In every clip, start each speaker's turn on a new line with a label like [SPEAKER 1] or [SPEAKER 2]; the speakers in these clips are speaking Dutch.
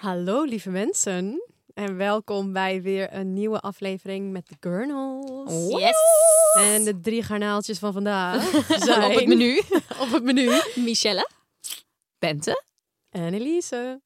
[SPEAKER 1] Hallo lieve mensen en welkom bij weer een nieuwe aflevering met de Gurnals.
[SPEAKER 2] Yes!
[SPEAKER 1] En de drie garnaaltjes van vandaag zijn
[SPEAKER 2] Op het menu.
[SPEAKER 1] op het menu.
[SPEAKER 2] Michelle. Bente.
[SPEAKER 1] En Elise.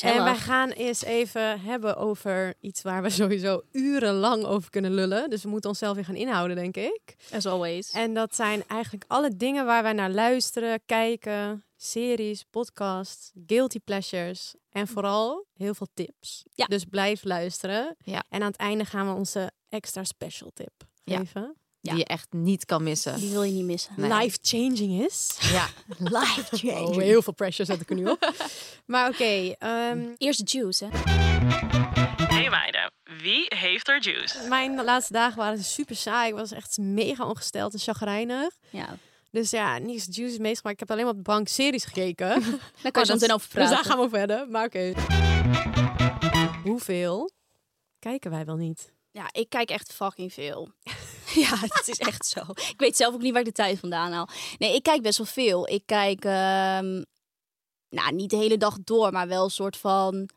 [SPEAKER 1] En wij gaan eens even hebben over iets waar we sowieso urenlang over kunnen lullen. Dus we moeten onszelf weer gaan inhouden, denk ik.
[SPEAKER 2] As always.
[SPEAKER 1] En dat zijn eigenlijk alle dingen waar wij naar luisteren, kijken, series, podcasts, guilty pleasures en vooral heel veel tips.
[SPEAKER 2] Ja.
[SPEAKER 1] Dus blijf luisteren.
[SPEAKER 2] Ja.
[SPEAKER 1] En aan het einde gaan we onze extra special tip
[SPEAKER 2] Ja.
[SPEAKER 1] geven.
[SPEAKER 2] Ja.
[SPEAKER 3] die je echt niet kan missen.
[SPEAKER 2] Die wil je niet missen.
[SPEAKER 3] Nee.
[SPEAKER 1] Life changing is.
[SPEAKER 3] Ja,
[SPEAKER 2] Life
[SPEAKER 1] Oh,
[SPEAKER 2] change.
[SPEAKER 1] heel veel pressure zet ik er nu op. maar oké, ehm,
[SPEAKER 2] Eerst juice, hè?
[SPEAKER 4] Hey meiden, wie heeft er juice?
[SPEAKER 1] mijn laatste dagen waren super saai. Ik was echt mega ongesteld en chagrijnig.
[SPEAKER 2] Ja.
[SPEAKER 1] Dus ja, niks juice meegemaakt. Ik heb alleen maar op de bank series gekeken.
[SPEAKER 2] Daar kan je
[SPEAKER 1] Maar
[SPEAKER 2] zo meteen over
[SPEAKER 1] Dus
[SPEAKER 2] praten.
[SPEAKER 1] daar gaan we over verder. Maar oké. Hoeveel kijken wij wel niet?
[SPEAKER 5] Ja, ik kijk echt fucking veel.
[SPEAKER 2] Ja, het is echt zo. Ik weet zelf ook niet waar ik de tijd vandaan haal. Nee, ik kijk best wel veel. Ik kijk, ehm, nou, niet de hele dag door, maar wel een soort van...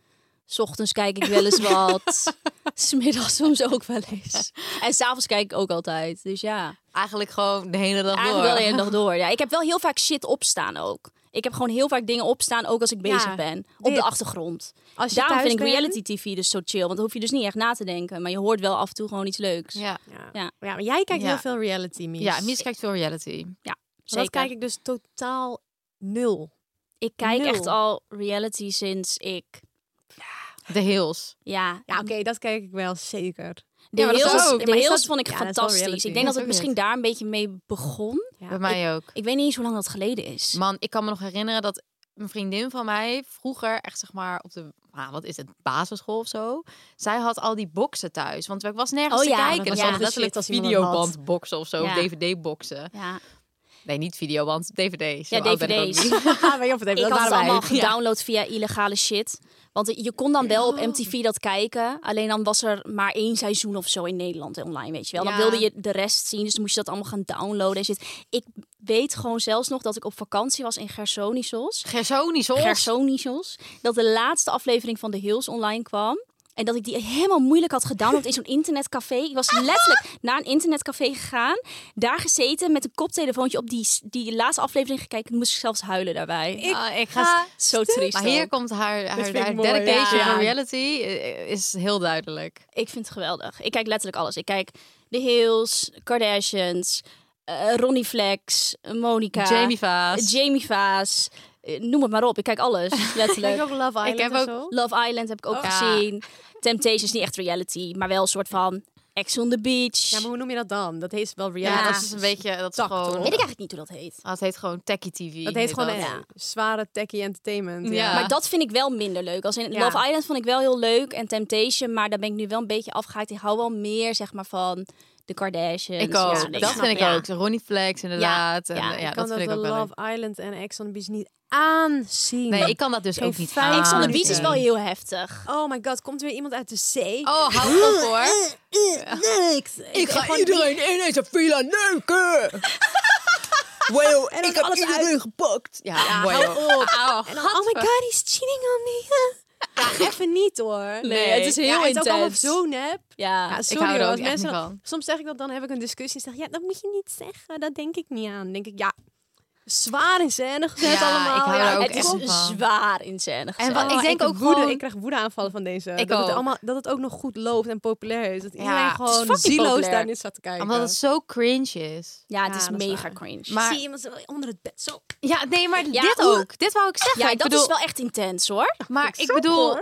[SPEAKER 2] 's ochtends kijk ik wel eens wat. Smiddags soms ook wel eens. En s'avonds kijk ik ook altijd. Dus ja.
[SPEAKER 3] eigenlijk gewoon de hele dag
[SPEAKER 2] Eigenlijk wel
[SPEAKER 3] door.
[SPEAKER 2] de hele dag door. Ja, ik heb wel heel vaak shit opstaan ook. Ik heb gewoon heel vaak dingen opstaan, ook als ik bezig
[SPEAKER 1] Ja,
[SPEAKER 2] ben. Op
[SPEAKER 1] dit.
[SPEAKER 2] de achtergrond.
[SPEAKER 1] Als je
[SPEAKER 2] Daarom
[SPEAKER 1] thuis
[SPEAKER 2] vind ik
[SPEAKER 1] bent-
[SPEAKER 2] reality tv dus zo chill. Want dan hoef je dus niet echt na te denken. Maar je hoort wel af en toe gewoon iets leuks.
[SPEAKER 3] Ja,
[SPEAKER 1] Ja. Ja.
[SPEAKER 2] Ja.
[SPEAKER 1] maar jij kijkt
[SPEAKER 3] Ja.
[SPEAKER 1] heel veel reality, Mies.
[SPEAKER 3] ja Mies kijkt veel reality.
[SPEAKER 2] Zeker.
[SPEAKER 1] Dat kijk ik dus totaal nul.
[SPEAKER 2] ik kijk
[SPEAKER 1] nul.
[SPEAKER 2] echt al reality sinds ik...
[SPEAKER 3] De Hills.
[SPEAKER 2] Ja,
[SPEAKER 1] Ja, oké, dat kijk ik wel zeker.
[SPEAKER 2] de
[SPEAKER 3] maar dat is
[SPEAKER 2] Hills,
[SPEAKER 3] ook.
[SPEAKER 2] de
[SPEAKER 1] Maar is
[SPEAKER 2] Hills
[SPEAKER 1] dat-
[SPEAKER 2] vond ik
[SPEAKER 1] ja, dat is wel
[SPEAKER 2] fantastisch.
[SPEAKER 1] reality.
[SPEAKER 2] Ik denk
[SPEAKER 3] Dat
[SPEAKER 2] dat
[SPEAKER 3] is ook
[SPEAKER 2] het misschien daar een beetje mee begon.
[SPEAKER 1] Ja.
[SPEAKER 3] Bij mij ook.
[SPEAKER 2] Ik weet niet eens hoe lang dat geleden is.
[SPEAKER 3] Man, ik kan me nog herinneren dat een vriendin van mij vroeger echt zeg maar op de ah, wat is het basisschool of zo. Zij had al die boxen thuis, want ik was nergens
[SPEAKER 2] Oh
[SPEAKER 3] te
[SPEAKER 2] ja, dat
[SPEAKER 3] kijken.
[SPEAKER 2] was
[SPEAKER 3] Dus
[SPEAKER 2] wel
[SPEAKER 3] dat
[SPEAKER 1] de
[SPEAKER 3] letterlijk
[SPEAKER 1] shit als iemand dat had.
[SPEAKER 3] videobandboxen of zo,
[SPEAKER 2] Ja.
[SPEAKER 3] DVD-boxen.
[SPEAKER 2] Ja,
[SPEAKER 3] Nee, niet videoband, DVD's. Zo
[SPEAKER 2] ja
[SPEAKER 3] oud ben ik ook
[SPEAKER 2] DVD's.
[SPEAKER 3] niet.
[SPEAKER 1] Haha, Ah, je of het even-
[SPEAKER 2] Ik
[SPEAKER 1] dat
[SPEAKER 2] had het
[SPEAKER 1] waren wij.
[SPEAKER 2] allemaal gedownload via illegale shit. Want je kon dan wel op MTV dat kijken. Alleen dan was er maar één seizoen of zo in Nederland online, weet je wel. Dan
[SPEAKER 3] Ja.
[SPEAKER 2] wilde je de rest zien, dus dan moest je dat allemaal gaan downloaden en shit. Ik weet gewoon zelfs nog dat ik op vakantie was in Gersonisos.
[SPEAKER 3] Gersonisch, hoor.
[SPEAKER 2] Gersonisos. Dat de laatste aflevering van The Hills online kwam. En dat ik die helemaal moeilijk had gedownload in zo'n internetcafé. Ik was letterlijk naar een internetcafé gegaan. Daar gezeten met een koptelefoontje op die, die laatste aflevering gekeken. Ik moest zelfs huilen daarbij.
[SPEAKER 3] Ah, ik ga
[SPEAKER 2] Zo triest.
[SPEAKER 3] Maar hier
[SPEAKER 2] ook.
[SPEAKER 3] komt haar, haar,
[SPEAKER 1] vind ik
[SPEAKER 3] haar
[SPEAKER 1] mooi.
[SPEAKER 3] dedication
[SPEAKER 1] Ja.
[SPEAKER 3] to reality eh, is heel duidelijk.
[SPEAKER 2] Ik vind het geweldig. Ik kijk letterlijk alles. Ik kijk The Hills, Kardashians, eh, Ronnie Flex, Monica,
[SPEAKER 3] Jamie Vaas.
[SPEAKER 2] eh, Jamie Vaas. Eh, noem het maar op. Ik kijk alles,
[SPEAKER 1] Kijk je
[SPEAKER 2] letterlijk.
[SPEAKER 1] ook Love Island
[SPEAKER 3] Ik heb
[SPEAKER 1] en
[SPEAKER 3] ook-
[SPEAKER 1] zo?
[SPEAKER 2] Love Island heb ik ook
[SPEAKER 3] Ja.
[SPEAKER 2] gezien. Temptations, niet echt reality, maar wel een soort van Ex on the Beach.
[SPEAKER 1] Ja, maar hoe noem je dat dan? Dat heet wel
[SPEAKER 3] Ja,
[SPEAKER 1] reality.
[SPEAKER 3] dat is een beetje dat is
[SPEAKER 1] tak,
[SPEAKER 3] gewoon.
[SPEAKER 1] toch?
[SPEAKER 2] Weet ik eigenlijk niet hoe dat heet.
[SPEAKER 3] Ah, het heet gewoon Techie TV.
[SPEAKER 1] Dat heet gewoon
[SPEAKER 3] dat.
[SPEAKER 1] een zware techie entertainment. Ja.
[SPEAKER 3] Ja.
[SPEAKER 2] Maar dat vind ik wel minder leuk. Als in
[SPEAKER 1] Ja.
[SPEAKER 2] Love Island vond ik wel heel leuk en Temptation, maar daar ben ik nu wel een beetje afgehaakt. Ik hou wel meer zeg maar van de Kardashians.
[SPEAKER 3] Ik
[SPEAKER 2] dat
[SPEAKER 3] ook.
[SPEAKER 2] soort dingen.
[SPEAKER 3] dat vind ik
[SPEAKER 2] Ja.
[SPEAKER 3] ook. Ronnie Flex inderdaad. En, eh,
[SPEAKER 2] ja.
[SPEAKER 3] ja,
[SPEAKER 2] Ik
[SPEAKER 1] ik
[SPEAKER 3] dat
[SPEAKER 1] kan dat,
[SPEAKER 3] vind ik ook
[SPEAKER 1] de
[SPEAKER 3] wel. leuk.
[SPEAKER 1] Love Island en Ex on the Beach niet aanzien.
[SPEAKER 3] Nee, ik kan dat dus
[SPEAKER 1] Geen
[SPEAKER 3] ook niet.
[SPEAKER 1] fijn-
[SPEAKER 3] aan.
[SPEAKER 2] Ex on the Beach is
[SPEAKER 1] Aanzien.
[SPEAKER 2] wel heel heftig.
[SPEAKER 1] Oh my god, komt weer iemand uit de zee?
[SPEAKER 3] Oh, hou op hoor.
[SPEAKER 1] Niks. Ik
[SPEAKER 3] ga
[SPEAKER 1] iedereen in deze villa neuken. Wow, en ik heb alles
[SPEAKER 3] gepakt. Ja,
[SPEAKER 1] Ja,
[SPEAKER 3] mooi,
[SPEAKER 1] hou
[SPEAKER 3] hoor.
[SPEAKER 1] op.
[SPEAKER 3] Auw.
[SPEAKER 1] En dan, oh my god, he's cheating on me. Ja, even niet hoor.
[SPEAKER 2] Nee, het is heel
[SPEAKER 1] ja, Het is ook
[SPEAKER 2] intens.
[SPEAKER 1] allemaal zo nep.
[SPEAKER 2] Ja.
[SPEAKER 1] Ja,
[SPEAKER 3] hou
[SPEAKER 1] sorry
[SPEAKER 3] er
[SPEAKER 1] hoor,
[SPEAKER 3] ook
[SPEAKER 1] als
[SPEAKER 3] echt
[SPEAKER 1] mensen
[SPEAKER 3] niet
[SPEAKER 1] dan-
[SPEAKER 3] van.
[SPEAKER 1] Soms zeg ik dat, dan heb ik een discussie en zeg ik, ja, dat moet je niet zeggen. Dat denk ik niet aan. Dan denk ik, ja, zwaar in scène gezet
[SPEAKER 3] Ja,
[SPEAKER 1] allemaal.
[SPEAKER 3] ik hou er
[SPEAKER 1] ja,
[SPEAKER 3] ook
[SPEAKER 2] oh het
[SPEAKER 3] echt
[SPEAKER 2] is
[SPEAKER 3] van.
[SPEAKER 2] zwaar in scène gezet.
[SPEAKER 3] wat-
[SPEAKER 1] Ah, ik denk ook woede,
[SPEAKER 3] gewoon-
[SPEAKER 1] Ik krijg woedeaanvallen van deze.
[SPEAKER 3] Ik
[SPEAKER 1] dat, Het
[SPEAKER 3] ook.
[SPEAKER 1] allemaal, dat het ook nog goed loopt en populair is. Dat iedereen
[SPEAKER 3] het is
[SPEAKER 1] gewoon
[SPEAKER 2] fucking
[SPEAKER 1] zieloos
[SPEAKER 2] populair.
[SPEAKER 1] daarin staat te kijken.
[SPEAKER 3] Omdat het zo cringe is.
[SPEAKER 2] ja, het
[SPEAKER 1] Ja,
[SPEAKER 2] is
[SPEAKER 1] dat is
[SPEAKER 2] mega
[SPEAKER 1] waar.
[SPEAKER 2] cringe.
[SPEAKER 3] Maar
[SPEAKER 1] Zie iemand zo onder het bed. Zo.
[SPEAKER 3] ja, nee, maar
[SPEAKER 2] Ja,
[SPEAKER 3] dit
[SPEAKER 2] hoe-
[SPEAKER 3] ook. Dit wou ik zeggen.
[SPEAKER 2] ja,
[SPEAKER 3] ik
[SPEAKER 2] dat
[SPEAKER 3] bedoel,
[SPEAKER 2] is wel echt intens hoor.
[SPEAKER 3] Maar ik bedoel,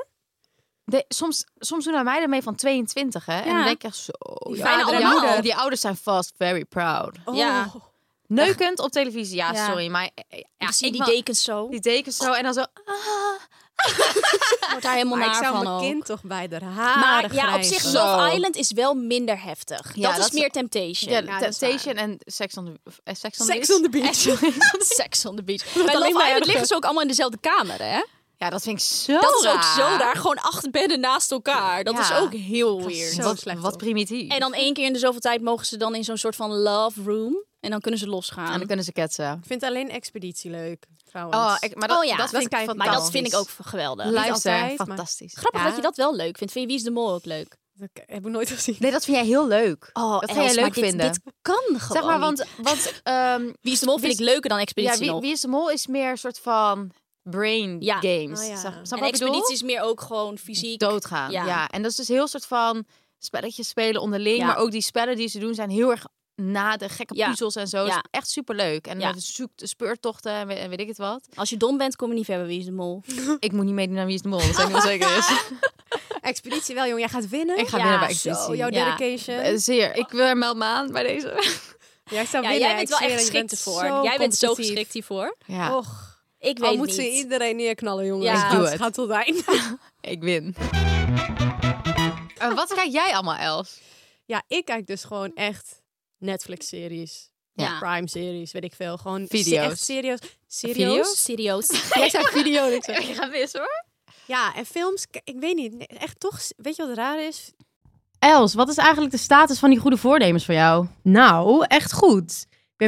[SPEAKER 3] de, soms, soms doen wij meiden mee van 22, hè? En
[SPEAKER 2] Ja.
[SPEAKER 3] dan denk ik echt zo... ja,
[SPEAKER 2] fijne
[SPEAKER 3] die
[SPEAKER 2] allemaal.
[SPEAKER 3] ouders- Die ouders zijn vast very proud.
[SPEAKER 2] Ja.
[SPEAKER 1] Oh.
[SPEAKER 3] Neukend op televisie, ja,
[SPEAKER 2] Ja.
[SPEAKER 3] sorry. Maar eh, ja,
[SPEAKER 2] Ja, zie
[SPEAKER 3] ik
[SPEAKER 2] die
[SPEAKER 3] wel-
[SPEAKER 2] dekens zo.
[SPEAKER 3] die dekens zo en dan zo... ah, ah,
[SPEAKER 2] Wordt daar helemaal
[SPEAKER 1] Maar ik
[SPEAKER 2] naar
[SPEAKER 1] zou
[SPEAKER 2] van
[SPEAKER 1] mijn
[SPEAKER 2] ook.
[SPEAKER 1] kind toch bij de haren
[SPEAKER 2] Maar ja, op zich,
[SPEAKER 1] grijpen.
[SPEAKER 2] Love
[SPEAKER 3] Zo.
[SPEAKER 2] Island is wel minder heftig.
[SPEAKER 3] Ja,
[SPEAKER 2] dat,
[SPEAKER 3] dat
[SPEAKER 2] is
[SPEAKER 3] is-
[SPEAKER 2] meer Temptation.
[SPEAKER 3] Ja,
[SPEAKER 5] dat is
[SPEAKER 3] Temptation en Sex on the, eh, sex on the
[SPEAKER 1] Sex
[SPEAKER 3] Beach.
[SPEAKER 1] on the beach.
[SPEAKER 2] Sex on the beach. Bij
[SPEAKER 1] alleen
[SPEAKER 2] Love
[SPEAKER 1] maar
[SPEAKER 2] Island
[SPEAKER 1] erger.
[SPEAKER 2] liggen ze ook allemaal in dezelfde kamer, hè? Oh,
[SPEAKER 3] Ja, dat vind ik zo
[SPEAKER 2] Dat is ook
[SPEAKER 3] raar.
[SPEAKER 2] zo daar. Gewoon acht bedden naast elkaar. Dat
[SPEAKER 3] Ja.
[SPEAKER 2] is ook heel
[SPEAKER 1] Dat is
[SPEAKER 2] weird.
[SPEAKER 1] zo
[SPEAKER 3] Wat,
[SPEAKER 1] slecht
[SPEAKER 3] wat
[SPEAKER 1] op.
[SPEAKER 3] primitief.
[SPEAKER 2] En dan één keer in de zoveel tijd mogen ze dan in zo'n soort van love room. En dan kunnen ze
[SPEAKER 3] En
[SPEAKER 2] losgaan.
[SPEAKER 3] dan kunnen ze ketsen.
[SPEAKER 1] Ik vind alleen expeditie leuk, trouwens.
[SPEAKER 3] Oh, ik, maar dat,
[SPEAKER 2] Oh ja,
[SPEAKER 3] dat vind ik
[SPEAKER 1] kijk-
[SPEAKER 2] Maar dat
[SPEAKER 3] fantastisch.
[SPEAKER 2] vind ik ook geweldig.
[SPEAKER 1] Niet
[SPEAKER 3] Luister,
[SPEAKER 1] altijd, maar-
[SPEAKER 3] fantastisch.
[SPEAKER 2] Grappig
[SPEAKER 1] Ja.
[SPEAKER 2] dat je dat wel leuk vindt. Vind je Wie is de Mol ook leuk?
[SPEAKER 1] Dat heb ik nooit gezien.
[SPEAKER 3] Nee, dat vind jij heel leuk.
[SPEAKER 2] Oh,
[SPEAKER 3] dat ga jij
[SPEAKER 2] Els,
[SPEAKER 3] leuk
[SPEAKER 2] maar dit,
[SPEAKER 3] vinden.
[SPEAKER 2] Dit kan gewoon
[SPEAKER 3] zeg maar,
[SPEAKER 2] niet.
[SPEAKER 3] want, want ehm,
[SPEAKER 2] Wie is de Mol vind
[SPEAKER 3] Wie
[SPEAKER 2] ik leuker dan
[SPEAKER 3] ja,
[SPEAKER 2] Expeditie
[SPEAKER 3] wie,
[SPEAKER 2] nog.
[SPEAKER 3] wie is de mol is meer een soort van brain
[SPEAKER 2] Ja.
[SPEAKER 3] games.
[SPEAKER 1] Oh ja.
[SPEAKER 3] Snap- snap je
[SPEAKER 2] en
[SPEAKER 3] wat ik bedoel?
[SPEAKER 2] Expeditie is meer ook gewoon fysiek.
[SPEAKER 3] doodgaan.
[SPEAKER 2] Ja.
[SPEAKER 3] Ja. en dat is dus heel soort van spelletjes spelen onderling,
[SPEAKER 2] Ja.
[SPEAKER 3] maar ook die spellen die ze doen zijn heel erg na de gekke
[SPEAKER 2] Ja.
[SPEAKER 3] puzzels en zo.
[SPEAKER 2] Ja.
[SPEAKER 3] Is echt superleuk. En
[SPEAKER 2] Ja.
[SPEAKER 3] met zoek speurtochten en weet, en weet ik het wat.
[SPEAKER 2] Als je dom bent, kom je niet verder bij Wie is de Mol.
[SPEAKER 3] ik moet niet meedoen aan wie is de mol. Dat zijn heel zeker is.
[SPEAKER 1] Expeditie wel, jongen. Jij gaat winnen.
[SPEAKER 3] Ik ga
[SPEAKER 2] Ja,
[SPEAKER 3] winnen
[SPEAKER 2] zo,
[SPEAKER 3] bij Expeditie.
[SPEAKER 1] Oh, jouw
[SPEAKER 2] Ja.
[SPEAKER 3] Eh,
[SPEAKER 1] dedication.
[SPEAKER 3] Zeer. Ik wil er meld me aan bij deze.
[SPEAKER 1] Jij zou
[SPEAKER 2] Ja,
[SPEAKER 1] winnen.
[SPEAKER 2] jij bent wel echt geschikt
[SPEAKER 1] voor.
[SPEAKER 2] ervoor. Jij bent zo geschikt hiervoor.
[SPEAKER 3] Ja,
[SPEAKER 1] Och,
[SPEAKER 2] Ik weet
[SPEAKER 1] al moet
[SPEAKER 2] niet.
[SPEAKER 1] ze iedereen neerknallen, jongen.
[SPEAKER 2] Ja.
[SPEAKER 1] Ik doe het. Gaat tot het einde.
[SPEAKER 3] ik win. Eh, wat kijk jij allemaal, Els?
[SPEAKER 1] Ja, ik kijk dus gewoon echt Netflix-series.
[SPEAKER 2] Ja.
[SPEAKER 1] Prime-series, weet ik veel. Gewoon se-
[SPEAKER 3] Video's.
[SPEAKER 1] echt serieus. Serieus?
[SPEAKER 3] Video's?
[SPEAKER 2] Serieus.
[SPEAKER 1] Jij zei video. en ik zei-
[SPEAKER 3] Ik ga mis hoor.
[SPEAKER 1] Ja, en films, k- ik weet niet. Nee, Echt toch, s- weet je wat raar is?
[SPEAKER 3] Els, wat is eigenlijk de status van die goede voornemens voor jou?
[SPEAKER 6] Nou, echt goed. Ik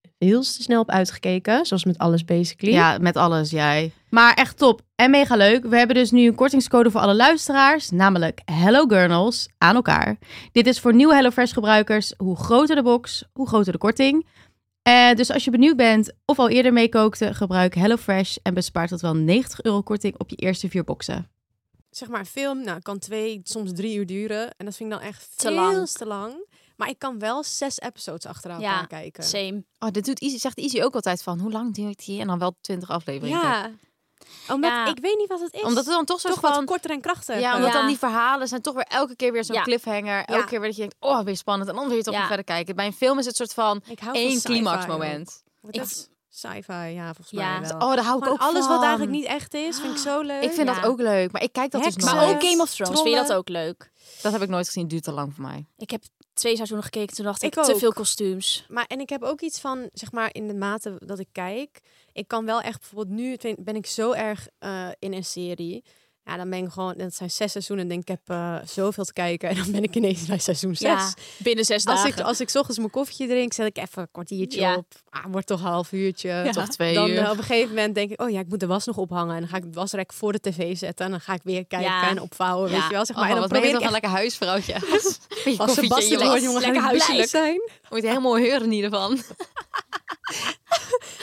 [SPEAKER 6] heel te snel op uitgekeken. Zoals met alles basically.
[SPEAKER 7] Ja, met alles, jij. Maar echt top en mega leuk. We hebben dus nu een kortingscode voor alle luisteraars, namelijk Hello Gurnals aan elkaar. Dit is voor nieuwe HelloFresh gebruikers. Hoe groter de box, hoe groter de korting. Eh, dus als je benieuwd bent of al eerder meekookte, gebruik HelloFresh en bespaart tot wel 90 euro korting op je eerste vier boxen.
[SPEAKER 1] Zeg maar, een film nou, kan twee, soms drie uur duren. En dat vind ik dan echt
[SPEAKER 2] Te
[SPEAKER 1] veel
[SPEAKER 2] lang.
[SPEAKER 1] te lang. Maar ik kan wel zes episodes achteraan
[SPEAKER 2] Ja,
[SPEAKER 1] gaan kijken.
[SPEAKER 2] Same.
[SPEAKER 3] Oh, dit doet Izzy, zegt Izzy ook altijd van, hoe lang duurt die? En dan wel 20 afleveringen.
[SPEAKER 1] Ja. Omdat
[SPEAKER 2] Ja.
[SPEAKER 1] ik weet niet wat het is.
[SPEAKER 3] Omdat het dan toch zo
[SPEAKER 1] toch wat
[SPEAKER 3] van...
[SPEAKER 1] korter en krachtiger.
[SPEAKER 3] ja, omdat
[SPEAKER 2] Ja.
[SPEAKER 3] dan die verhalen zijn toch weer elke keer weer zo'n
[SPEAKER 2] Ja.
[SPEAKER 3] cliffhanger. Elke
[SPEAKER 1] Ja.
[SPEAKER 3] keer weer dat je denkt, oh, weer spannend. En dan wil je toch
[SPEAKER 2] Ja.
[SPEAKER 3] weer verder kijken. Bij een film is het soort van
[SPEAKER 1] Ik hou
[SPEAKER 3] één
[SPEAKER 1] van sci-fi
[SPEAKER 3] climaxmoment.
[SPEAKER 1] ook. Wordt
[SPEAKER 2] Ik-
[SPEAKER 1] dat Sci-fi, ja, volgens
[SPEAKER 2] Ja.
[SPEAKER 1] mij wel.
[SPEAKER 3] Oh, daar hou ik
[SPEAKER 1] Gewoon
[SPEAKER 3] ook
[SPEAKER 1] alles
[SPEAKER 3] van.
[SPEAKER 1] wat eigenlijk niet echt is, vind ik zo leuk.
[SPEAKER 3] Ik vind
[SPEAKER 2] Ja.
[SPEAKER 3] dat ook leuk, maar ik kijk dat dus
[SPEAKER 1] Heksen.
[SPEAKER 2] Maar
[SPEAKER 3] nooit.
[SPEAKER 2] ook Game of Thrones. Vind je dat
[SPEAKER 1] trollen.
[SPEAKER 2] ook leuk?
[SPEAKER 3] Dat heb ik nooit gezien, duurt te lang voor mij.
[SPEAKER 2] Ik heb twee seizoenen gekeken. Toen dacht ik,
[SPEAKER 1] Ik
[SPEAKER 2] te
[SPEAKER 1] ook.
[SPEAKER 2] veel kostuums.
[SPEAKER 1] Maar en ik heb ook iets van, zeg maar, in de mate dat ik kijk. Ik kan wel echt bijvoorbeeld nu vind- ben ik zo erg eh, in een serie. Ja, dan ben ik gewoon, dat zijn zes seizoenen. En ik denk, ik heb eh, zoveel te kijken. En dan ben ik ineens bij seizoen zes. Dus
[SPEAKER 2] Ja, binnen zes
[SPEAKER 1] als,
[SPEAKER 2] dagen.
[SPEAKER 1] ik, als ik 's ochtends mijn koffietje drink, zet ik even een kwartiertje
[SPEAKER 2] Ja.
[SPEAKER 1] op. Ah, wordt toch een half uurtje.
[SPEAKER 3] Toch twee
[SPEAKER 1] Dan
[SPEAKER 3] uur.
[SPEAKER 1] eh, op een gegeven moment denk ik, oh ja, ik moet de was nog ophangen. En dan ga ik het wasrek voor de tv zetten. En dan ga ik weer kijken
[SPEAKER 2] Ja.
[SPEAKER 1] en opvouwen,
[SPEAKER 2] Ja.
[SPEAKER 1] weet je wel. Zeg maar.
[SPEAKER 3] Oh,
[SPEAKER 1] en dan
[SPEAKER 3] wat ben je
[SPEAKER 1] probeer
[SPEAKER 3] toch
[SPEAKER 1] ik
[SPEAKER 3] een
[SPEAKER 1] echt,
[SPEAKER 3] lekker huisvrouwtje. Met je
[SPEAKER 1] als
[SPEAKER 3] koffietje in je
[SPEAKER 1] Sebastian
[SPEAKER 3] was.
[SPEAKER 1] wordt, jongen, ga
[SPEAKER 2] Lekker
[SPEAKER 1] ik blij
[SPEAKER 2] huiselijk.
[SPEAKER 1] zijn.
[SPEAKER 3] Moet je helemaal heuren in ieder geval.